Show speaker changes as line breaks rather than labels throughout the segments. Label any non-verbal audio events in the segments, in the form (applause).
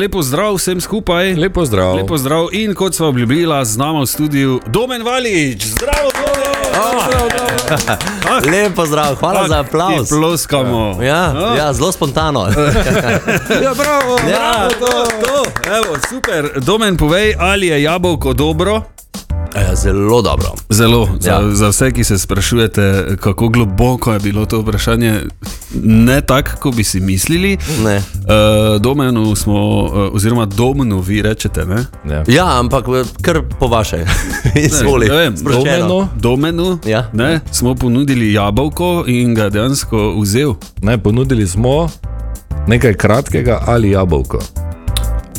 Lepo zdrav vsem skupaj.
Lepo zdrav.
Lepo zdrav in kot smo obljubili, z nami v studiu Domen Valič, zdravo, zdravo.
Lepo zdrav, hvala Ah. za aplaus.
Ploskamo.
Ja, ja, zelo spontano.
Ah. (laughs) ja bravo,
Ja.
bravo, to, to. Evo, super. Domen, povej, ali je jabolko dobro?
Ja, Zelo dobro.
Zelo, za, ja.
Ja.
za vse, ki se sprašujete, kako globoko je bilo to vprašanje, ne tako, kot bi si mislili.
Ne.
Uh, domenu smo, uh, oziroma domenu vi rečete, ne?
Ja.
Ja, ampak eh, kar po vaše. (laughs) Izvoli.
Ne, ne vem,
Sproščeno.
domeno?
Domenu
Ja.
ne, smo ponudili jabolko in ga dejansko vzel.
Ne, ponudili smo nekaj kratkega ali jabolko.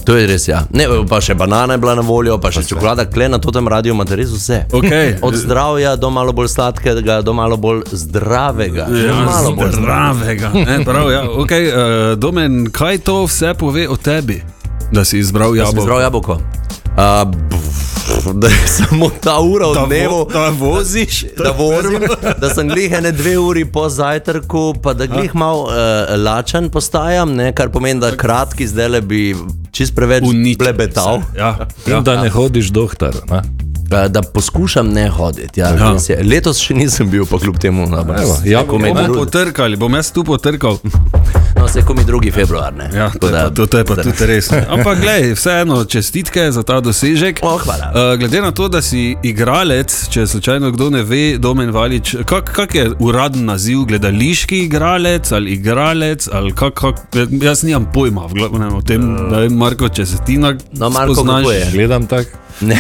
To je res, ja. Ne, pa še banana je bila na voljo, pa
Pač, ja.
še čokolada, kle na totem radiju imate res vse.
(laughs) Okay.
Od zdravja do malo bolj sladkega, do malo bolj zdravega.
Ja,
malo bolj
zdravega. Ne, prav, ja. okay, uh, domen, kaj to vse pove o tebi, da si izbral
Sem
jabolko?
Zdrav jabolko. A, pff, da je samo ta ura
Da, vo,
v dnevu.
da voziš,
(laughs) da vozim, da sem glih ene dve uri po zajtrku, pa da glih malo uh, lačen postajam, ne, kar pomeni, da kratki zdaj le bi čist preveč
Uničil
blebetal. Uh,
Ja,
In ja, da ne hodiš dohtar. Ne?
da poskušam ne hoditi. Ja,
Ja.
ja. Letos še nisem bil, pa kljub temu no, na
Evo,
vrhu.
jako
me
Bomo
drugi,
potrkali, bom jaz tu potrkal.
no, se komi 2. februar. Ne,
Ja, to,
Tako
je
da-
pa, to, to je pa tudi res. Ampak, glej, vseeno čestitke za ta dosežek.
O, hvala.
Uh, glede na to, da si igralec, če slučajno kdo ne ve, Domen Valič, kak, kak je uraden naziv, gledališki igralec ali igralec, ali kak, kak, jaz nimam pojma v glav- ne, o tem, da je Marko, če se ti na
Eh. No, Marko,
spoznaš,
kako je?
Gledam tako.
ne.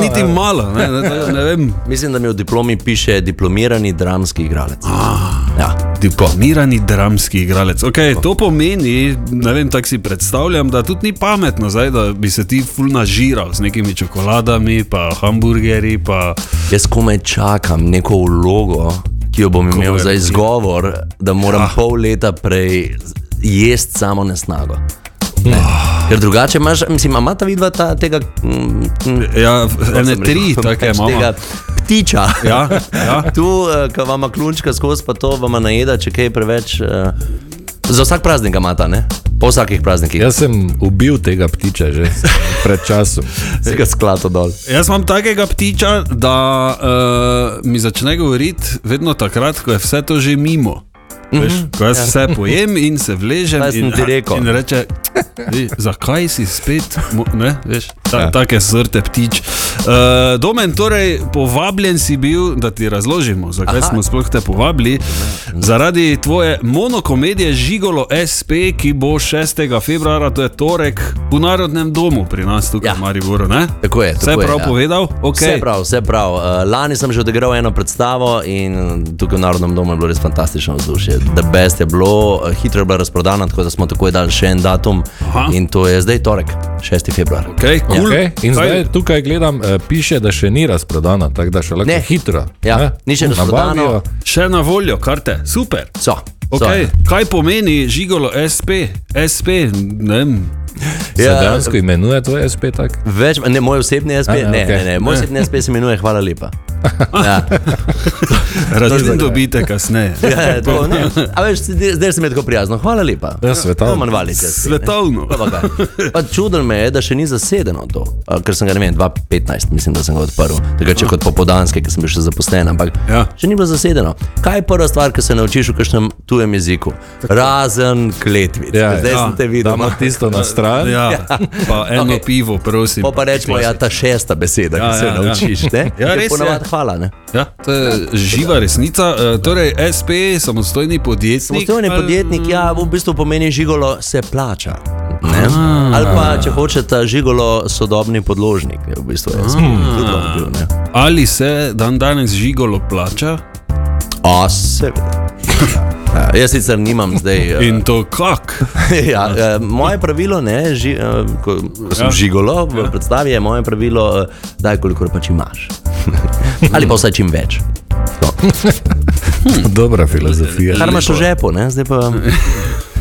Niti malo, ne, ne, ne, ne vem.
(laughs) Mislim, da mi v diplomi piše diplomirani dramski igralec.
Ah.
Ja.
Diplomirani dramski igralec. Okay, to pomeni, ne vem, tako si predstavljam, da tudi ni pametno, zdaj, da bi se ti ful nažiral z nekimi čokoladami, pa hamburgerji. Pa...
Jaz komaj čakam neko vlogo, ki jo bom imel
je
za
vloga?
izgovor, da
Ja.
moram ah. pol leta prej jesti samo nesnago. Ne.
Ah.
Ker drugače imaš, mislim, ima ta vidva ta, tega, mm, mm,
Ja, ene
sem (laughs)
tri,
rekel,
tako je
pač
malo.
tega ptiča.
Ja, ja.
Tu, eh, ko vam klunčka skozi, pa to vam najeda, če kaj preveč. eh, Za vsak praznik ga imata, ne? Po vsakih praznikih.
Ja.
Jaz sem ubil tega ptiča že (laughs) pred časom.
Se ga sklato dol.
Jaz imam takega ptiča, da uh, mi začne govoriti vedno takrat, ko je vse to že mimo. Veš, ko jaz vse pojem in se vležem,
Kaj Mhm. Ja. sem
in,
ti rekel?
in reče, "Ej, zakaj si spet, mo- ne, veš, ta, ja. take srte ptič. Uh, domen, torej, povabljen si bil, da ti razložimo, zakaj Aha.
Aha.
smo sploh te povabili. Zaradi tvoje monokomedije Žigolo SP, ki bo 6. februara, to je torek, v Narodnem domu pri nas tukaj ja.
Ja.
v Mariboru. Ne?
Tako je,
Vse
tako je,
prav
ja.
povedal?
Okay.
Okay.
Vse prav, vse prav. Eh, Lani sem že odigral eno predstavo in tukaj v Narodnem domu je bilo res fantastično vzdušje. The best je bilo, eh, hitro je bila razprodana, tako da smo takoj dali še en datum
Aha.
Aha. in to je zdaj torek, 6. februar.
Okay, cool.
Okay? Ja.
Kaj-
In zdaj tukaj gledam, eh, piše, da še ni razprodana, tako da še lahko
Ne.
hitro.
Ja,
ne?
ni še razprodano.
Nabavijo.
Še na voljo, karte, super.
So,
Okay. Kaj pomeni žigolo SP? SP, ne vem.
so.
Se dejansko imenuje to SP tako?
Več, ne, moj osebni SP,
A, ne,
ne, ne,
okej.
okay. ne, moj osebni SP se imenuje Hvala lepa. Ja.
Račun dobite kasneje.
(laughs) Ja, ja, to, ne. A veš, zdaj zdaj se mi je tako prijazno. Hvala lepa. No,
Ja, svetovno.
Roman Valič je spet, ne.
Svetovno.
Pa pa kaj. Pa Čudno me je, da še ni zasedeno to, A, ker sem ga ne vem, 2015, mislim, da sem ga odprl. Tega če kot popodanske, ker sem bil še zaposlen, ampak
Ja.
še ni bilo zasedeno. Kaj je prva stvar, ki se naučiš v kakšnem tujem jeziku? Razen kletvic.
Ja,
Ja, zdaj
ja.
ja. sem te videl.
Damo
ma.
tisto na stran.
Ja, pa eno okay.
Okay.
pivo, prosim.
Po pa rečemo, ja, ta šesta beseda,
Ja,
ki se
ja,
jo
ja.
naučiš. ne?
Ja,
Je
res je.
Ponavadi hvala. Ne?
Ja, to je živa resnica. E, Torej, SP, samostojni podjetnik.
Samostojni
ali-
podjetnik, ja, v bistvu pomeni žigolo se plača. Ne?
Ah.
Ali pa, če hočete, žigolo sodobni podložnik. Je, v bistvu, jaz
Mm.
sem tudi on bil, ne.
Ali se dan danes žigolo plača?
A, seveda. (laughs) Ja, jaz sicer nimam zdaj. (laughs) eh,
In to kak?
ja, eh, moje pravilo, ne, ži, eh, ko, ko sem
Ja.
ja. žigolo v predstavi, je moje pravilo, eh, daj kolikor pač imaš. (laughs) Ali pa vsaj čim več. To.
(laughs) Dobra filozofija.
Kar imaš v žepu, ne? zdaj pa.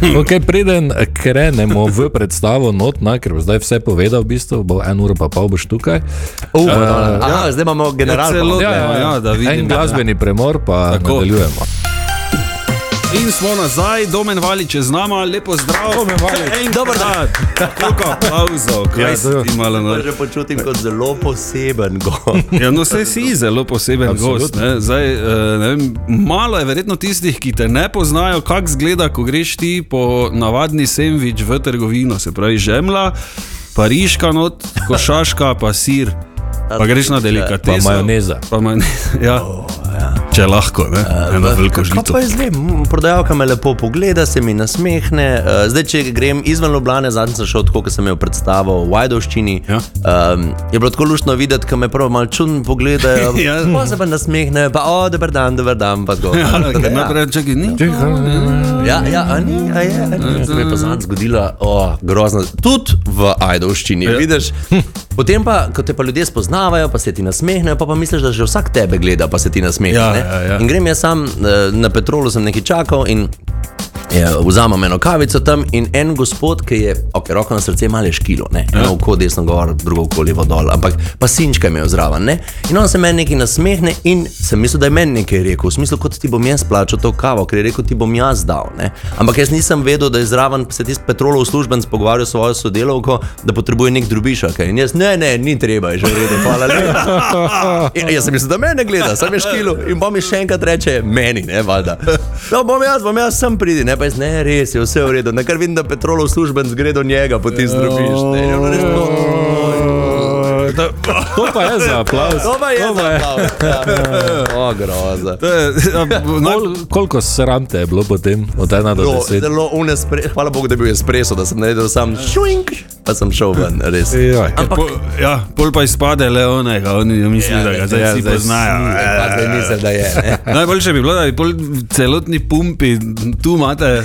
Okay, preden krenemo v predstavo, not, na, ker bo zdaj vse povedal, v bistvu bo en uro pa pol boš tukaj.
(laughs) Uh, aha, zdaj imamo generalno.
ja,
celo- Ja, ja, da vidim.
en glasbeni premor, pa
Tako.
nadaljujemo.
in smo nazaj, domen valič je z nama, lepo zdrav.
Domen Valič.
Dober
dan. Koliko aplauzov, kaj
Ja,
si
dobro.
imala na
Pa Že počutim kot zelo poseben gost.
Ja, no, vse si zelo poseben
Absolutno.
gost. Ne? Zdaj, eh, ne vem, malo je verjetno tistih, ki te ne poznajo, kako zgleda, ko greš ti po navadni sendvič v trgovino, se pravi žemlja, pariška not, košaška, pa sir. Pa greš na delikateso.
Pa majoneza. Oh, Eh,
Pa majoneza, ja. Če lahko, ne? Ena velika
Kaj
žlica.
pa jaz vem, m, prodajalka me lepo pogleda, se mi nasmehne. eh, Zdaj, če grem izven Ljubljana, zadnjič sem šel tako, kot sem jo predstavil v Vajdovščini.
Ja.
Um, je bilo tako lušno videti, ko me prav malo čudno pogledajo.
(laughs) Ja.
Pa se pa nasmehne, pa o, dober dan, dober dan, pa
(laughs)
tako.
Ja,
Tako da,
ker najprej čakaj, ni.
Ja, ja, a ni, a je, a ni. To mi je pa zadnjič zgodilo, oh, grozno. Tudi v Ajdovščini, ja. vidiš. Potem pa, ko te pa ljudje spoznavajo, pa se ti nasmehnejo, pa, pa misliš, da že vsak tebe gleda, pa se ti nasmehne.
Ja,
ne?
ja, ja.
In grem jaz sam, eh, na Petrolu sem nekaj čakal in je, Ja, vzamem eno kavico tam in en gospod, ki je, ok, roko na srce, malo je škilo, ne, eno oko desno gor, drugo oko levo dol, ampak pa sinčka mi je zraven, ne. In on se meni nekaj nasmehne in sem mislil, da je meni nekaj rekel, v smislu, kot ti bom jaz plačal to kavo, ker je rekel, ti bom jaz dal, ne. Ampak jaz nisem vedel, da je zraven se tisti petrolov službenc pogovarjal s svojo sodelavko, da potrebuje nek drubišek. In jaz, ne, ne, ni treba, je že v redu, hvala lepa. Ja, jaz sem mislil, da me ne gleda, sem je škilo in bom mi še enkrat reče, meni, ne, valjda. No, bom jaz, bom jaz sem pridi, ne, pa jaz ne, res je vse v redu. Na kar vidim, da petrolov službenc gre do njega, potem zdrobiš. Ne, in ono res bilo,
To pa je za aplauz.
to pa je
To pa je.
zabav. O, groza.
To je, (laughs) ja, naj-
Kol, koliko sramte je bilo potem od 1 do
Zelo,
10?
zelo unespre, hvala Bogu, da je bil espreso, da sem naredil sam šuink, pa sem šel ven, res.
Joj.
Ampak, pol, ja, pol pa izpade le onega, oni mislijo, ja, da ga zdaj
ja,
ja, vsi
zdaj
poznajo.
Ja, pa zdaj mislim, da je.
(laughs)
Ne.
Najboljše bi bilo, da bi pol celotni pumpi, tu imate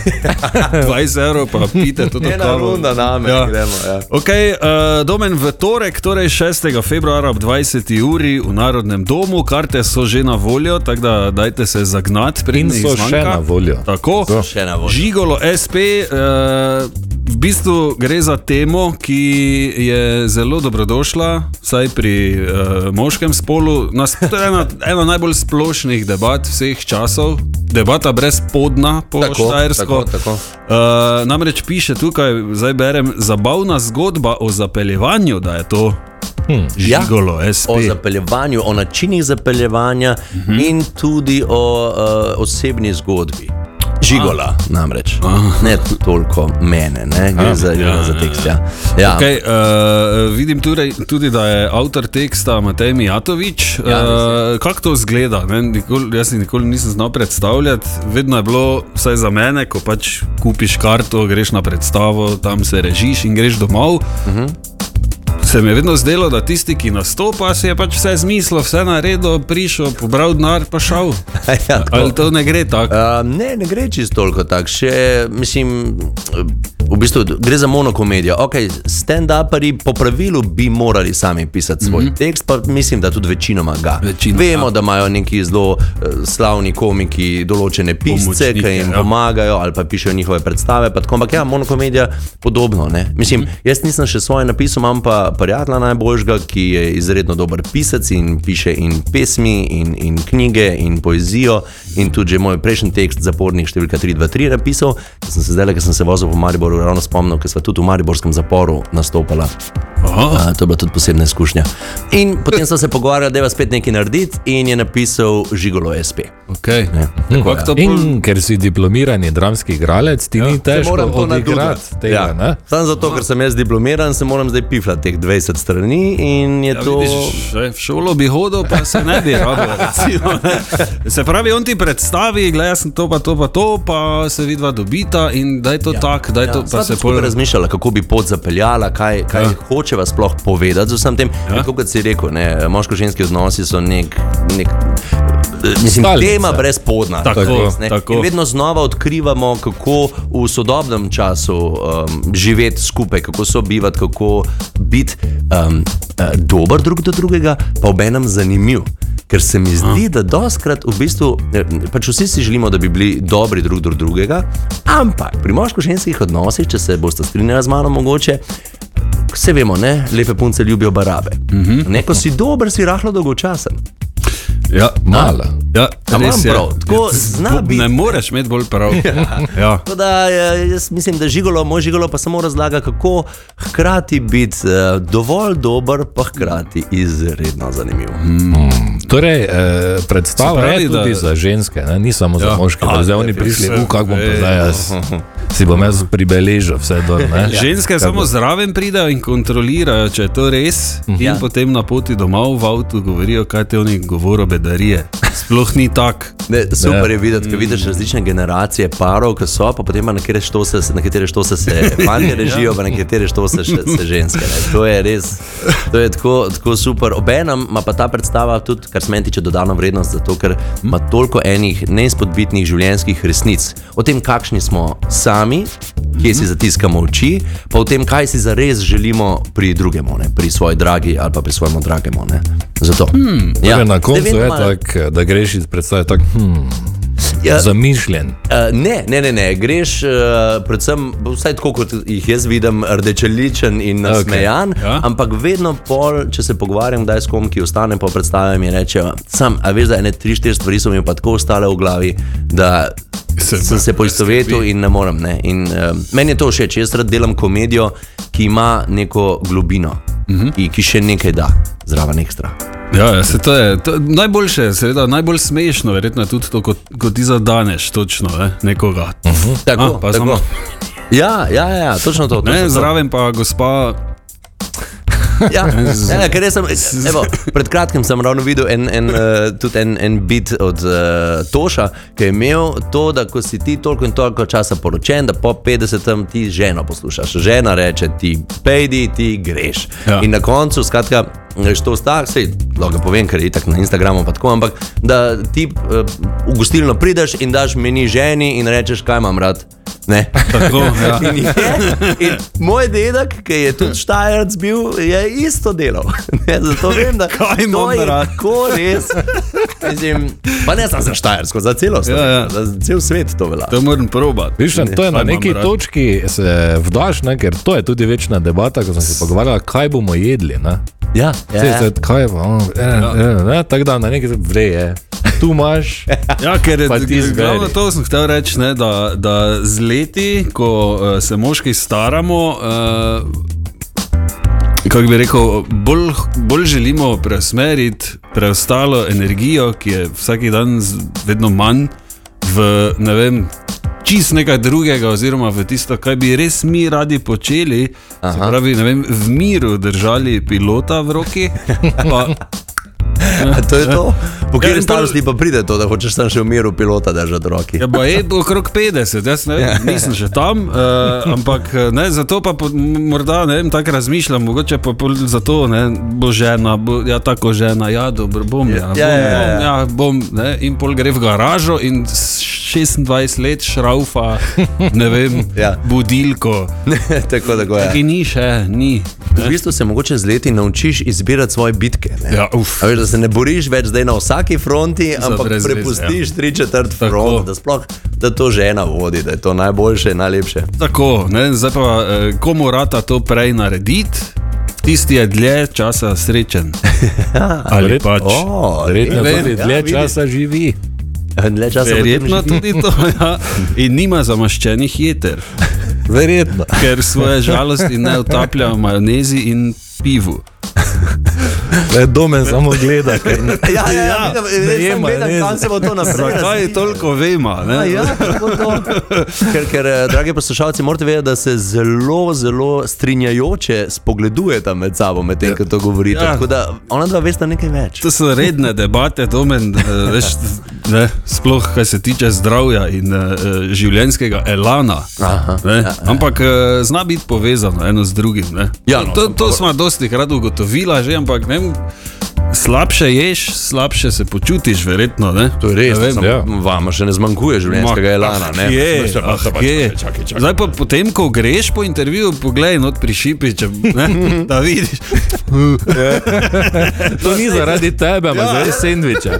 20 evrov, pa pite to
Ena
kavo.
runda name,
Ja.
gremo, ja.
Okay, uh, domen v torek, torej 6. februarja ob 20. uri v Narodnem domu, karte so že na voljo, tako da dajte se zagnati,
In
pridni
so še na voljo.
Tako,
So.
Še na voljo.
Žigolo SP, uh, v bistvu gre za temo, ki je zelo dobrodošla, vsaj pri uh, moškem spolu. Nas, to je ena, ena najbolj splošnih debat vseh časov, debata brez podna po
Tako,
štajersko.
tako, tako.
Uh, namreč piše tukaj, zdaj berem, zabavna zgodba o zapeljevanju, da je to hmm,
Ja.
žigolo ja. SP.
o zapeljevanju, o načinih zapeljevanja uh -huh. in tudi o uh, osebni zgodbi. Žigola, namreč. Ne toliko mene, ne? gre za, Ah. ja, za tekst. Ja. Ja.
Okay, uh, vidim tudi, tudi, da je avtor teksta Matej Mijatovič.
Ja,
uh, Kako to zgleda? Ne, nikoli, jaz si nikoli nisem znal predstavljati. Vedno je bilo, vsaj za mene, ko pač kupiš karto, greš na predstavo, tam se režiš in greš domov. Uh
Mhm.
-huh. Se mi je vedno zdelo, da tisti, ki nastopa, si je pač vse zmislil, vse naredil, prišel, pobral denar, pa
(laughs)
šel.
(laughs) Ja, tako.
Ali to ne gre tako?
Uh, ne, ne gre čisto toliko tako. Še, mislim, v bistvu gre za monokomedijo. Okay, Stand-upari po pravilu bi morali sami pisati svoj mm -hmm. tekst, pa mislim, da tudi večinoma ga.
Večinoma,
Vemo, da imajo neki zelo uh, slavni komiki določene pisce, ki
Pomočnike,
jim
ja.
pomagajo ali pa pišejo njihove predstave. pa tako. Ampak ja, monokomedija podobno. Ne? Mislim, jaz nisem še svoje napisal, imam pa prijatelja najboljšega, ki je izredno dober pisec in piše in pesmi, in, in knjige, in poezijo. In tudi že moj prejšnji tekst, zapornik številka 323, je napisal. Jaz Sem se zdaj, ker sem se vozil po Mariboru, ravno spomnil, ker smo tudi v Mariborskem zaporu nastopala.
Aha.
A, to je bila tudi posebna izkušnja. In potem sem se pogovarjal, da je spet nekaj narediti, in je napisal Žigolo SP.
Okay.
Ja.
Kako to pol-
In ker si diplomirani dramski igralec, ti ja, ni
Se
težko
moram to
odigrati
nadugati.
tega. Ja. Ne?
Samo zato, ker sem jaz diplomiran, se moram zdaj piflati teh 20 strani in je ja, to.
Vidiš, ej, v šolo bi hodil, pa se ne bi rabil. Recimo, ne. se pravi, on ti predstavi, gledaj, jaz sem to, pa to, pa to, pa se vidva dobita in daj to ja, tak, daj ja, to, pa
Sva
se
tudi skupaj
pol razmišlja.
razmišljala, kako bi pot zapeljala, kaj, kaj ja. hočeva sploh povedati z vsem tem. Ja. Tako kot si rekel, ne, moško-ženski odnosi so nek. nek Mislim,
Stalnica.
tema brezpodna.
Tako,
to je res, ne.
tako.
In vedno znova odkrivamo, kako v sodobnem času um, živeti skupaj, kako sobivati, kako biti um, eh, dober drug do drugega, pa obenem zanimiv. Ker se mi zdi, da doskrat v bistvu, eh, pač vsi si želimo, da bi bili dobri drug do drugega, ampak pri moško-ženskih odnosih, če se boste strinjali z mano, mogoče Vse vemo, ne? lepe punce ljubijo
Mhm.
barabe. Mm -hmm. Neko si dober, si rahlo dolgočasen.
Ja,
Malo.
ja,
A imam
Res je. Ja.
prav, tako zna biti.
Ne moreš imeti bolj
(laughs)
prav. Ja.
Tako da eh, jaz mislim, da žigolo, moj žigolo pa samo razlaga, kako hkrati biti eh, dovolj dober, pa hkrati izredno zanimiv.
Torej, eh, predstava
Se pravi,
je tudi
da-
da... za ženske, ne? ni samo za
Ja.
moške. da Zdaj oni prišli,
vse,
uh, kako bom
ej,
pa zdaj jaz. Si bom jaz pribeležil vse dol. ne?
Ženske
Ja.
Kako-
samo zraven pridejo in kontrolirajo, če je to res. In
Ja.
potem na poti domov v avtu govorijo, kaj te oni govorijo, bedarije. Sploh ni tako.
Ne, super je videti, ko vidiš različne generacije parov, ki so, pa potem pa na katere štose, na katere štose se
(laughs) Ja.
fanti režijo, pa na katere štose še, se ženske. Ne. To je res, to je tako, tako super. Obenem ima pa ta predstava tudi, kar se meni tiče, dodano vrednost, zato ker ima toliko enih neizpodbitnih življenjskih resnic o tem, kakšni smo sami, kje
Mhm.
si zatiskamo oči, pa o tem, kaj si zares želimo pri drugemu, ne, pri svoji dragi ali pa pri svojemu dragemu. Ne. Zato. Hmm,
Torej, Na koncu je tako, da greš iz predstave tako, hm,
Ja.
zamišljen.
Uh, ne, ne, ne, ne, greš, uh, predvsem, vsaj tako kot jih jaz vidim, rdečeličen in nasmejan, okay.
Ja.
ja. ampak vedno pol, če se pogovarjam, da je s kom, ki ostane po predstavi, mi rečejo, sam, a veš, da ene tri, štiri stvari so mi pa tako ostale v glavi, da
Se
se, sem se
ne
poistovetil
skrbi.
in ne morem. Ne. In, uh, meni je to všeč, jaz rad delam komedijo, ki ima neko globino, uh
Mhm.
-huh. ki, ki še nekaj da, zraven ekstra.
Ja, ja, se to je. To, najboljše je, seveda, najbolj smešno, verjetno je tudi to, kot, kot ti zadaneš, točno, ne, nekoga.
Tako,
A, pa
tako.
samo-
Ja, ja, ja, točno to. Točno
Ne,
to.
zraven pa gospa.
Ja, ja, ja, ker jaz sem, evo, pred kratkim sem ravno videl en, en, eh, tudi en, en bit od uh, Toša, ki je imel to, da ko si ti toliko in toliko časa poročen, da po 50-em ti ženo poslušaš. Žena reče ti, pejdi, ti greš.
Ja.
Ja. In na koncu, skratka, greš to vstak, sej, lahko povem, ker je itak na Instagramu pa tako, ampak da ti uh, v gostilno prideš in daš meni ženi in rečeš, kaj imam rad. Ne.
Tako, ja.
In (laughs) je, in moj dedek, ki je tudi štajerc bil, je isto delal. (laughs) Ne, zato vem, da
Kaj
to
imam
je
rad?
tako res. Mislim, pa ne samo za štajersko, za celo svet.
Ja, ja.
Za cel svet to velja.
To moram probati.
Viš, to je
Kaj
na
imam
neki
rad?
točki, se vdaš, ne, ker to je tudi večna debata, ko sem se pogovarjala, kaj bomo jedli. Ne.
Ja,
Ja. Se, kaj bo, eh, eh, eh, tako da na neki vreje. Tu imaš,
Ja, ker
Pa ti
je
zberi.
glavno to, sem hotel reči, ne, da, da z leti, ko eh, se moški staramo, uh, kako bi rekel, bolj, bolj želimo preusmeriti preostalo energijo, ki je vsak dan z- vedno manj, v ne vem. Čist nekaj drugega, oziroma v tisto, kar bi res mi radi počeli, se pravi, ne vem, v miru držali pilota v roki, pa
A (laughs) to je to. Po
Ja,
kateri
in
starosti pa pride to, da hočeš tam še v miru pilota držati v roki. (laughs)
Ja, pa je okrog 50, jaz ne
Ja.
vem, nisem že tam, uh, ampak eh, ne, zato pa po, m- morda ne vem, tako razmišljam, mogoče pa pol zato ne, bo žena, bo, ja tako žena, ja dobro, bom, ja,
Ja,
bom,
ja, ja, ja.
bom, ja, bom ne, in pol gre v garažo in s 26 let šraufa, ne vem, ja.
(laughs) Ja.
budilko,
tako, tako, ja.
ki ni še, ni.
V bistvu se mogoče z leti naučiš izbirati svoje bitke. Ne?
Ja, uf.
A Veš, da se ne boriš več zdaj na vsaki fronti, ampak
brez veze, ja.
prepustiš tri četrt
Tako.
front, da, sploh, da to žena vodi, da je to najboljše in najlepše.
Tako, ne, zdaj pa eh, komu rata to prej narediti, tisti je dlje časa
(laughs)
srečen. Ali
Verjetno.
pač.
Oh,
verjetno tudi
ja,
dlje
vidiš.
časa živi.
Dlje časa
Verjetno
potem
tudi to. Ja. (laughs) In nima zamaščenih jeter,
Verjetno.
ker svoje žalosti ne utaplja v majonezi in pivu.
Le domen samo gleda. ker ne-
živi. Ja, ja, ja, ja,
ne
ja, ja,
jema, ne.
gledam, kam se bo to
Zakaj
napravilo.
je toliko vema? Ne?
Ja, tako to. ker, ker, eh, dragi poslušalci, morate vedeti, da se zelo, zelo strinjajoče spogledujete med sabo, medtem ko to govorite.
Ja.
Ja. Tako da ona dva veste nekaj več.
To so redne debate, domen, eh, veš, ne, sploh kar se tiče zdravja in eh, eh, življenjskega elana.
Aha,
ne. Ampak eh, zna biti povezano eno z drugim. Ne.
Ja, no,
to to smo dosti krat ugotovila, že, ampak ne, vem, slabše ješ, slabše se počutiš, verjetno. Ne.
To je res,
Ne vem,
samo
ja.
vam še ne zmanjkuje življenjskega elana. ne?
Je,
Veš,
ah,
pa- pa-
je.
pač, čakaj, čakaj, čakaj.
Zdaj pa potem, ko greš po intervjuju, poglej not pri šipi, če,
(laughs)
ne, da vidiš.
To ni zaradi tebe, ampak zaradi sendviča.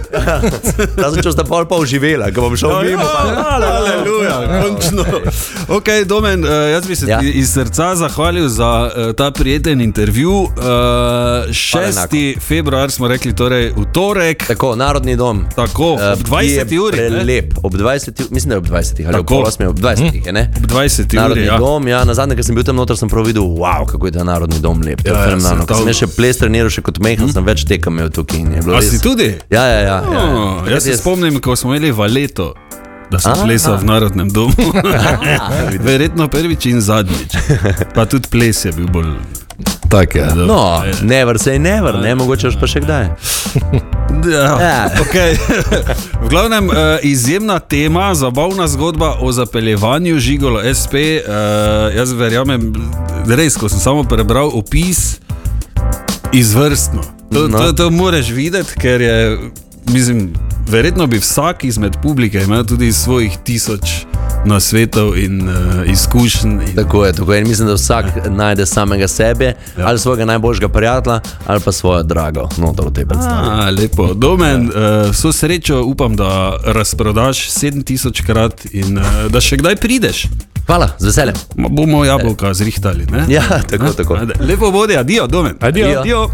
Razen če ste pol pol živela, ko bom šel mimo. pa-
ja, Aleluja, končno. Ok, Domen, eh, jaz bi se
Ja.
ti iz srca zahvalil za eh, ta prijeten intervju. Eh, 6. februar smo rekli torej v torek,
Tako, narodni dom.
tako
eh,
ob
ki
20
je
uri. ne?
Prelep, ob 20 uri, mislim, da je ob 20 ali
Tako.
ob 8, ob 20. je, ne?
Ob 20 uri.
Narodni
Ja.
dom, ja, na zadnje, ker sem bil tam noter, sem prav videl, wow, kako je ta narodni dom lep. To je
Ja, ja,
fenomenalno.
sem
Ko Sem
tam-
jaz še ples treniral, še kot mehko, sem več tekem imel tukaj. in je bilo
A
res-
si tudi?
Ja, ja, ja. ja.
Oh, jaz se spomnim, ko smo imeli valeto. Da sem
Aha.
plesal v narodnem domu.
(laughs)
Verjetno prvič in zadnjič. Pa tudi ples je bil bolj.
Tako je.
No, never say never, ne, mogoče boš pa še kdaj.
Ja,
Ja.
okay. (laughs) V glavnem, eh, izjemna tema, zabavna zgodba o zapeljevanju žigolo SP. eh, Jaz verjamem, res, ko sem samo prebral opis, izvrstno. To,
No.
to, to moraš videti, ker je, mislim, verjetno bi vsak izmed publike imel tudi svojih tisoč nasvetov in uh, izkušenj. In,
Tako je, tako je. In mislim, da vsak najde samega sebe, ja. ali svojega najboljšega prijatelja, ali pa svojo drago. No, to v tej predstavi.
A, lepo, domen, uh, so srečo, upam, da razprodaš 7000 krat in uh, da še kdaj prideš.
Hvala, z veseljem.
Ma bomo jabolka zrihtali. Ne?
Ja, tako, tako.
Ajde. Lepo vodi, adijo, domen.
Adijo.
adijo.